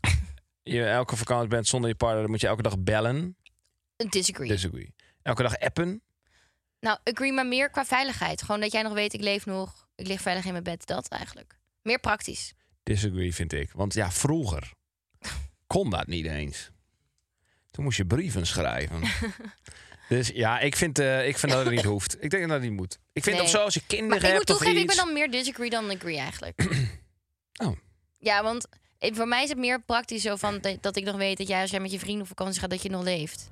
[SPEAKER 1] je elke vakantie bent zonder je partner, dan moet je elke dag bellen.
[SPEAKER 2] Disagree.
[SPEAKER 1] Disagree. Elke dag appen.
[SPEAKER 2] Nou, agree, maar meer qua veiligheid. Gewoon dat jij nog weet, ik leef nog, ik lig veilig in mijn bed. Dat eigenlijk. Meer praktisch.
[SPEAKER 1] Disagree vind ik. Want ja, vroeger kon dat niet eens. Toen moest je brieven schrijven. dus ja, ik vind, eh, ik vind dat het niet hoeft. Ik denk dat het niet moet. Ik vind
[SPEAKER 2] Nee.
[SPEAKER 1] dat zo als je kinderen
[SPEAKER 2] Maar ik moet
[SPEAKER 1] hebt of
[SPEAKER 2] toegeven, ik ben
[SPEAKER 1] iets-
[SPEAKER 2] dan meer disagree dan agree eigenlijk.
[SPEAKER 1] Oh.
[SPEAKER 2] Ja, want eh, voor mij is het meer praktisch zo van dat- dat ik nog weet dat jij als jij met je vrienden op vakantie gaat, dat je nog leeft.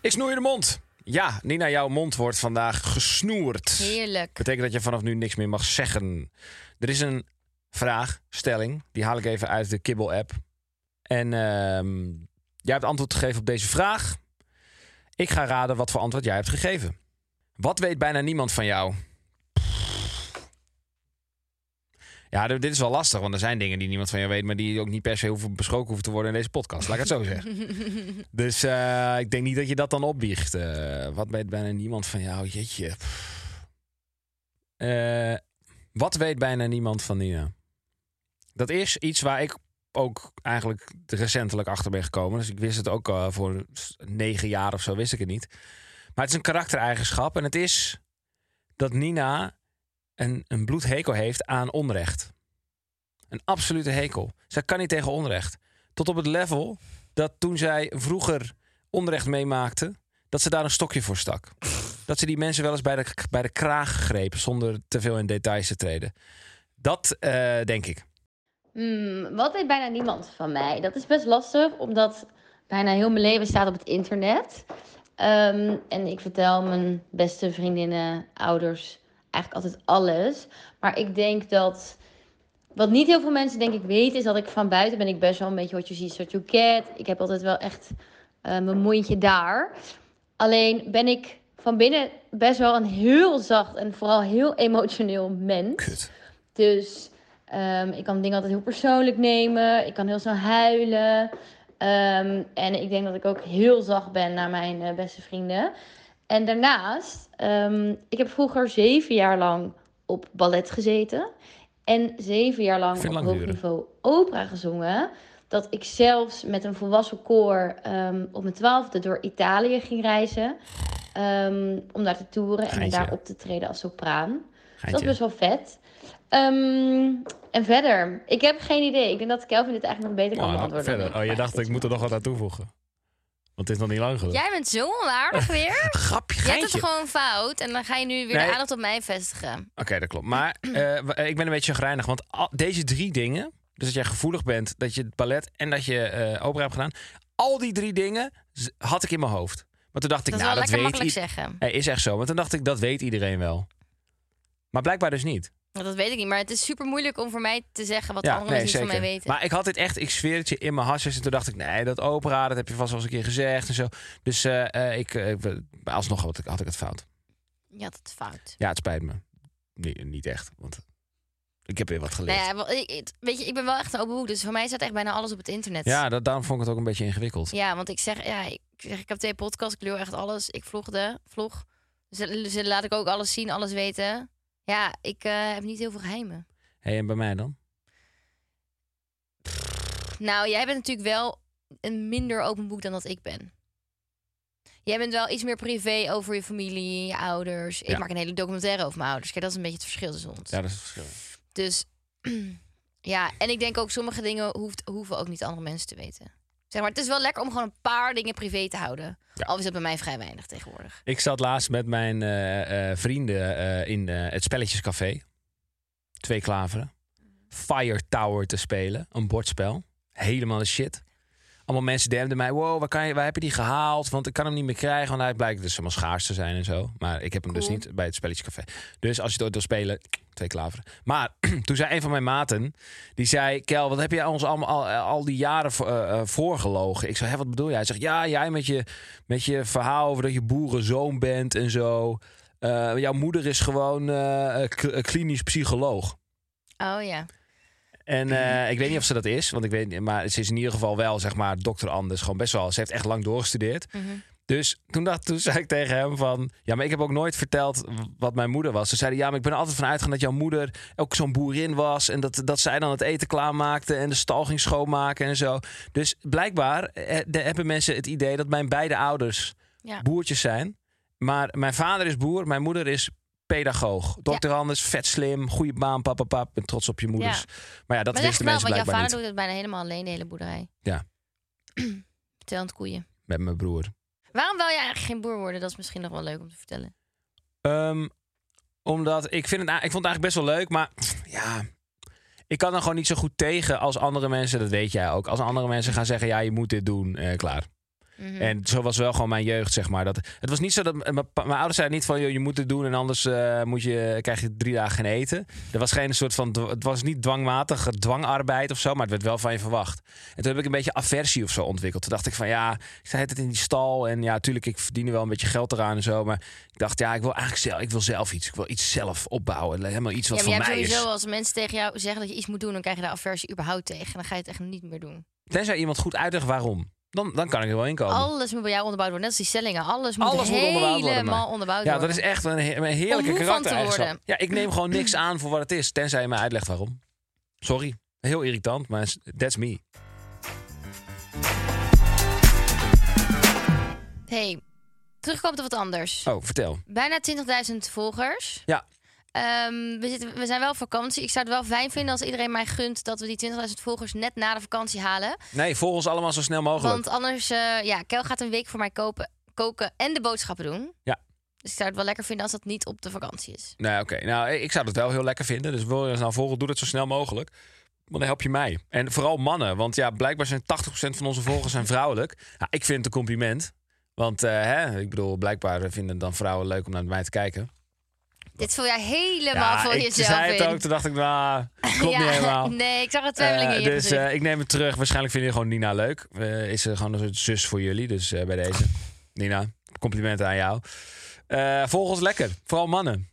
[SPEAKER 1] Ik snoer je de mond. Ja, Nina, jouw mond wordt vandaag gesnoerd.
[SPEAKER 2] Heerlijk.
[SPEAKER 1] Betekent dat je vanaf nu niks meer mag zeggen. Er is een vraag, stelling. Die haal ik even uit de Kibbel-app. En ehm, jij hebt antwoord gegeven op deze vraag. Ik ga raden wat voor antwoord jij hebt gegeven. Wat weet bijna niemand van jou? Ja, d- dit is wel lastig, want er zijn dingen die niemand van jou weet... maar die ook niet per se hoeven besproken hoeven te worden in deze podcast. Laat ik het zo zeggen. dus eh, ik denk niet dat je dat dan opbiecht. Eh, wat weet bijna niemand van jou? Jeetje. Eh, wat weet bijna niemand van Nina? Dat is iets waar ik ook eigenlijk recentelijk achter ben gekomen. Dus ik wist het ook eh, voor s- negen jaar of zo, wist ik het niet. Maar het is een karaktereigenschap en het is dat Nina een, een bloedhekel heeft aan onrecht. Een absolute hekel. Zij kan niet tegen onrecht. Tot op het level dat toen zij vroeger onrecht meemaakte, dat ze daar een stokje voor stak dat ze die mensen wel eens bij de, bij de kraag greep zonder te veel in details te treden. Dat eh, denk ik.
[SPEAKER 5] Hmm, wat weet bijna niemand van mij? Dat is best lastig, omdat bijna heel mijn leven staat op het internet. Ehm, en ik vertel mijn beste vriendinnen, ouders eigenlijk altijd alles. Maar ik denk dat. Wat niet heel veel mensen denk ik weten, is dat ik van buiten ben ik best wel een beetje what you see is what you get. Ik heb altijd wel echt eh, mijn mondje daar. Alleen ben ik van binnen best wel een heel zacht en vooral heel emotioneel mens. Dus ehm, ik kan dingen altijd heel persoonlijk nemen. Ik kan heel snel huilen. Ehm, en ik denk dat ik ook heel zacht ben naar mijn eh, beste vrienden. En daarnaast, ehm, ik heb vroeger zeven jaar lang op ballet gezeten. En zeven jaar lang
[SPEAKER 1] Vind
[SPEAKER 5] op
[SPEAKER 1] lang
[SPEAKER 5] hoog
[SPEAKER 1] duren.
[SPEAKER 5] niveau opera gezongen. Dat ik zelfs met een volwassen koor ehm, op mijn twaalfde door Italië ging reizen. ehm, om daar te toeren en
[SPEAKER 1] Geintje.
[SPEAKER 5] daar op te treden als sopraan. Dus dat
[SPEAKER 1] Geintje.
[SPEAKER 5] is best wel vet. Ehm, en verder, ik heb geen idee. Ik denk dat Kelvin dit eigenlijk nog beter kan
[SPEAKER 1] Oh, nou,
[SPEAKER 5] beantwoorden. dan
[SPEAKER 1] verder. Oh, je
[SPEAKER 5] Maar
[SPEAKER 1] dacht,
[SPEAKER 5] dit
[SPEAKER 1] ik
[SPEAKER 5] is
[SPEAKER 1] moet er nog wat aan toevoegen. Want het is nog niet lang gelukt.
[SPEAKER 2] Jij bent zo onaardig weer.
[SPEAKER 1] Grapje,
[SPEAKER 2] Je hebt het
[SPEAKER 1] geintje.
[SPEAKER 2] gewoon fout en dan ga je nu weer
[SPEAKER 1] Nee.
[SPEAKER 2] de aandacht op mij vestigen.
[SPEAKER 1] Oké, dat klopt. Maar eh, w- ik ben een beetje chagrijnig, want al- deze drie dingen... dus dat jij gevoelig bent, dat je het ballet en dat je eh, opera hebt gedaan... al die drie dingen z- had ik in mijn hoofd. Maar toen dacht ik,
[SPEAKER 2] Dat is
[SPEAKER 1] nou,
[SPEAKER 2] wel
[SPEAKER 1] dat
[SPEAKER 2] lekker
[SPEAKER 1] weet
[SPEAKER 2] makkelijk
[SPEAKER 1] i-
[SPEAKER 2] zeggen.
[SPEAKER 1] Nee, is echt zo. Want toen dacht ik, dat weet iedereen wel. Maar blijkbaar dus niet.
[SPEAKER 2] Dat weet ik niet, maar het is super moeilijk om voor mij te zeggen wat andere
[SPEAKER 1] nee,
[SPEAKER 2] mensen niet van mij weten.
[SPEAKER 1] Maar ik had dit echt, ik zweer het je, in mijn hasjes. En toen dacht ik, nee, dat opera, dat heb je vast wel eens een keer gezegd en zo. Dus eh, eh, ik, eh, ik- alsnog had ik, had ik het fout.
[SPEAKER 2] Je had het fout.
[SPEAKER 1] Ja, het spijt me. Nee, niet echt, want ik heb weer wat geleerd.
[SPEAKER 2] Nou ja, wel, ik- ik- weet je, ik ben wel echt een open boek, dus voor mij staat echt bijna alles op het internet.
[SPEAKER 1] ja, dat, daarom vond ik het ook een beetje ingewikkeld.
[SPEAKER 2] Ja, want ik zeg, ja, ik, zeg, ik heb twee podcasts, ik leer echt alles. Ik vlogde, vlog. Dus, dat- dus dat laat ik ook alles zien, alles weten. Ja, ik eh, heb niet heel veel geheimen.
[SPEAKER 1] Hé, en bij mij dan?
[SPEAKER 2] Nou, jij bent natuurlijk wel een minder open boek dan dat ik ben. Jij bent wel iets meer privé over je familie, je ouders. Ik
[SPEAKER 1] Ja.
[SPEAKER 2] maak een hele documentaire over mijn ouders. Kijk, dat is een beetje het verschil tussen ons.
[SPEAKER 1] Ja, dat is het verschil.
[SPEAKER 2] Dus ja, en ik denk ook sommige dingen hoeft, hoeven ook niet andere mensen te weten. Zeg maar, het is wel lekker om gewoon een paar dingen privé te houden. Al is dat bij mij vrij weinig tegenwoordig.
[SPEAKER 1] Ik zat laatst met mijn eh, eh, vrienden eh, in eh, het Spelletjescafé. Twee klaveren. Fire Tower te spelen. Een bordspel. Helemaal de shit. Allemaal mensen demden mij. Wow, waar, kan je, waar heb je die gehaald? Want ik kan hem niet meer krijgen. Want hij blijkt dus helemaal schaars te zijn en zo. Maar ik heb hem dus niet bij het Spelletjescafé. Dus als je het ooit wil spelen, twee klaveren. Maar toen zei een van mijn maten, die zei... Kel, wat heb jij ons allemaal, al, al die jaren voor, eh, eh, voorgelogen? Ik zei, hè, wat bedoel jij? Hij zegt, ja, jij met je, met je verhaal over dat je boerenzoon bent en zo. Eh, jouw moeder is gewoon eh, eh, kl- eh, klinisch psycholoog.
[SPEAKER 2] Oh ja.
[SPEAKER 1] En eh, ik weet niet of ze dat is, want ik weet niet, maar ze is in ieder geval wel, zeg maar, dokter Anders. Gewoon best wel. Ze heeft echt lang doorgestudeerd.
[SPEAKER 2] Mhm.
[SPEAKER 1] Dus toen, dacht, toen zei ik tegen hem van... Ja, maar ik heb ook nooit verteld wat mijn moeder was. Ze zeiden, ja, maar ik ben er altijd van uitgegaan dat jouw moeder ook zo'n boerin was. En dat, dat zij dan het eten klaarmaakte en de stal ging schoonmaken en zo. Dus blijkbaar eh, de- hebben mensen het idee dat mijn beide ouders
[SPEAKER 2] Ja.
[SPEAKER 1] boertjes zijn. Maar mijn vader is boer, mijn moeder is pedagoog. Dokter Anders, vet slim, goede baan, papa, pap. Ben trots op je moeders.
[SPEAKER 2] Ja.
[SPEAKER 1] Maar ja, dat
[SPEAKER 2] maar echt
[SPEAKER 1] wisten
[SPEAKER 2] wel,
[SPEAKER 1] mensen
[SPEAKER 2] want jouw vader
[SPEAKER 1] blijkbaar niet.
[SPEAKER 2] doet het bijna helemaal alleen, de hele boerderij.
[SPEAKER 1] Ja.
[SPEAKER 2] Tellend koeien.
[SPEAKER 1] Met mijn broer.
[SPEAKER 2] Waarom wil jij eigenlijk geen boer worden? Dat is misschien nog wel leuk om te vertellen.
[SPEAKER 1] Ehm, omdat ik, vind het, a- ik vond het eigenlijk best wel leuk, maar ja. Ik kan er gewoon niet zo goed tegen als andere mensen, dat weet jij ook. Als andere mensen gaan zeggen, ja, je moet dit doen, eh, klaar.
[SPEAKER 2] Mhm.
[SPEAKER 1] En zo was wel gewoon mijn jeugd, zeg maar. Dat, het was niet zo dat m- mijn, pa- mijn ouders zeiden niet van, joh, je moet dit doen en anders eh, moet je, krijg je drie dagen geen eten. Er was geen soort van, dw- het was niet dwangmatige dwangarbeid of zo, maar het werd wel van je verwacht. En toen heb ik een beetje aversie of zo ontwikkeld. Toen dacht ik van, ja, ik zei het in die stal en ja, tuurlijk, ik verdien er wel een beetje geld eraan en zo. Maar ik dacht, ja, ik wil eigenlijk zelf, ik wil zelf iets. Ik wil iets zelf opbouwen. Helemaal iets wat
[SPEAKER 2] ja, maar
[SPEAKER 1] van
[SPEAKER 2] jij
[SPEAKER 1] mij
[SPEAKER 2] hebt sowieso,
[SPEAKER 1] is.
[SPEAKER 2] als mensen tegen jou zeggen dat je iets moet doen, dan krijg je daar aversie überhaupt tegen. En dan ga je het echt niet meer doen.
[SPEAKER 1] Tenzij iemand goed uitlegt waarom. Dan, dan kan ik er wel in komen.
[SPEAKER 2] Alles moet bij jou onderbouwd worden. Net als die stellingen. Alles moet
[SPEAKER 1] Oh. Alles moet
[SPEAKER 2] helemaal
[SPEAKER 1] onderbouwd worden. maar-
[SPEAKER 2] onderbouwd
[SPEAKER 1] ja,
[SPEAKER 2] worden.
[SPEAKER 1] dat is echt een, he- een
[SPEAKER 2] Om
[SPEAKER 1] heerlijke
[SPEAKER 2] moe van te
[SPEAKER 1] karaktereigenschap.
[SPEAKER 2] worden.
[SPEAKER 1] Ja, ik neem gewoon niks aan voor wat het is, tenzij je mij uitlegt waarom. Sorry, heel irritant, maar that's me.
[SPEAKER 2] hey, terugkomt op wat anders.
[SPEAKER 1] Oh, vertel.
[SPEAKER 2] Bijna 20.000 volgers.
[SPEAKER 1] Ja,
[SPEAKER 2] Ehm, we, zitten, we zijn wel op vakantie. Ik zou het wel fijn vinden als iedereen mij gunt dat we die 20.000 volgers net na de vakantie halen.
[SPEAKER 1] nee, volg ons allemaal zo snel mogelijk.
[SPEAKER 2] Want anders, eh, ja, Kel gaat een week voor mij kopen, koken en de boodschappen doen.
[SPEAKER 1] Ja.
[SPEAKER 2] Dus ik zou het wel lekker vinden als dat niet op de vakantie is.
[SPEAKER 1] Nou, oké. Nou, ik zou dat wel heel lekker vinden. Dus wil je ons nou volgen, doe dat zo snel mogelijk. Want dan help je mij. En vooral mannen. Want ja, blijkbaar zijn 80% van onze volgers zijn vrouwelijk. Ja, ik vind het een compliment. Want eh, hè, ik bedoel, blijkbaar vinden dan vrouwen leuk om naar mij te kijken.
[SPEAKER 2] Dit voel jij helemaal voor
[SPEAKER 1] ik
[SPEAKER 2] jezelf
[SPEAKER 1] zei het
[SPEAKER 2] in.
[SPEAKER 1] ook, toen dacht ik, nou, klopt niet helemaal.
[SPEAKER 2] nee, ik zag het tweeling in
[SPEAKER 1] Eh,
[SPEAKER 2] je
[SPEAKER 1] dus
[SPEAKER 2] gezicht.
[SPEAKER 1] eh, ik neem het terug. Waarschijnlijk vinden jullie gewoon Nina leuk. Eh, is er gewoon een soort zus voor jullie. Dus eh, bij deze. Nina, complimenten aan jou. Eh volg ons lekker. Vooral mannen.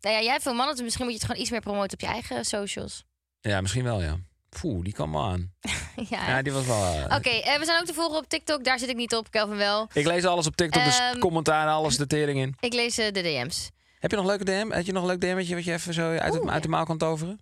[SPEAKER 2] Nou ja, jij hebt veel mannen, dus misschien moet je het gewoon iets meer promoten op je eigen socials.
[SPEAKER 1] Ja, misschien wel, ja. Poeh, die kwam wel aan.
[SPEAKER 2] ja.
[SPEAKER 1] Ja, die was wel... eh,
[SPEAKER 2] Oké, eh, we zijn ook te volgen op TikTok. Daar zit ik niet op, Kelvin wel.
[SPEAKER 1] Ik lees alles op TikTok, dus
[SPEAKER 2] Ehm,
[SPEAKER 1] commentaar, alles, de tering in.
[SPEAKER 2] Ik lees eh, de DM's.
[SPEAKER 1] Heb je nog een leuke DM? Heb je nog een leuk DM'tje wat je even zo uit, het- uit de maal kan toveren?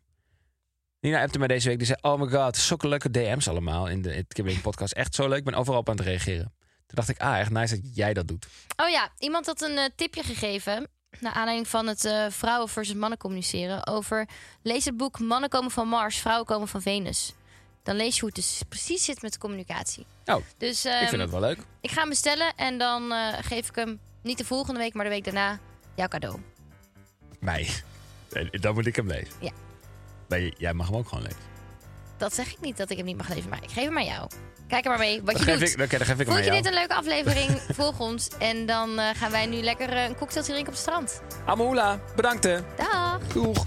[SPEAKER 1] Nina appte mij deze week. Die zei, oh my god, zulke leuke DM's allemaal in de in het Kibbeling podcast. Echt zo leuk, ik ben overal op aan het reageren. Toen dacht ik, ah, echt nice dat jij dat doet.
[SPEAKER 2] Oh ja, iemand had een eh, tipje gegeven. Naar aanleiding van het eh, vrouwen versus mannen communiceren. Over lees het boek Mannen komen van Mars, vrouwen komen van Venus. Dan lees je hoe het dus precies zit met communicatie.
[SPEAKER 1] Oh,
[SPEAKER 2] Dus
[SPEAKER 1] ik
[SPEAKER 2] ehm,
[SPEAKER 1] vind dat wel leuk.
[SPEAKER 2] ik ga hem bestellen en dan eh, geef ik hem niet de volgende week, maar de week daarna jouw cadeau.
[SPEAKER 1] Mij. Nee, Dan moet ik hem lezen.
[SPEAKER 2] Ja.
[SPEAKER 1] Nee, jij mag hem ook gewoon lezen.
[SPEAKER 2] Dat zeg ik niet dat ik hem niet mag lezen, maar ik geef hem aan jou. Kijk er maar mee wat
[SPEAKER 1] Dan
[SPEAKER 2] je
[SPEAKER 1] geef,
[SPEAKER 2] doet.
[SPEAKER 1] ik, oké, dan geef ik hem aan
[SPEAKER 2] Vond je
[SPEAKER 1] jou.
[SPEAKER 2] dit een leuke aflevering? Volg ons. En dan eh, gaan wij nu lekker eh, een cocktailtje drinken op het strand.
[SPEAKER 1] Amahula, bedankt hè.
[SPEAKER 2] Dag!
[SPEAKER 1] Doeg.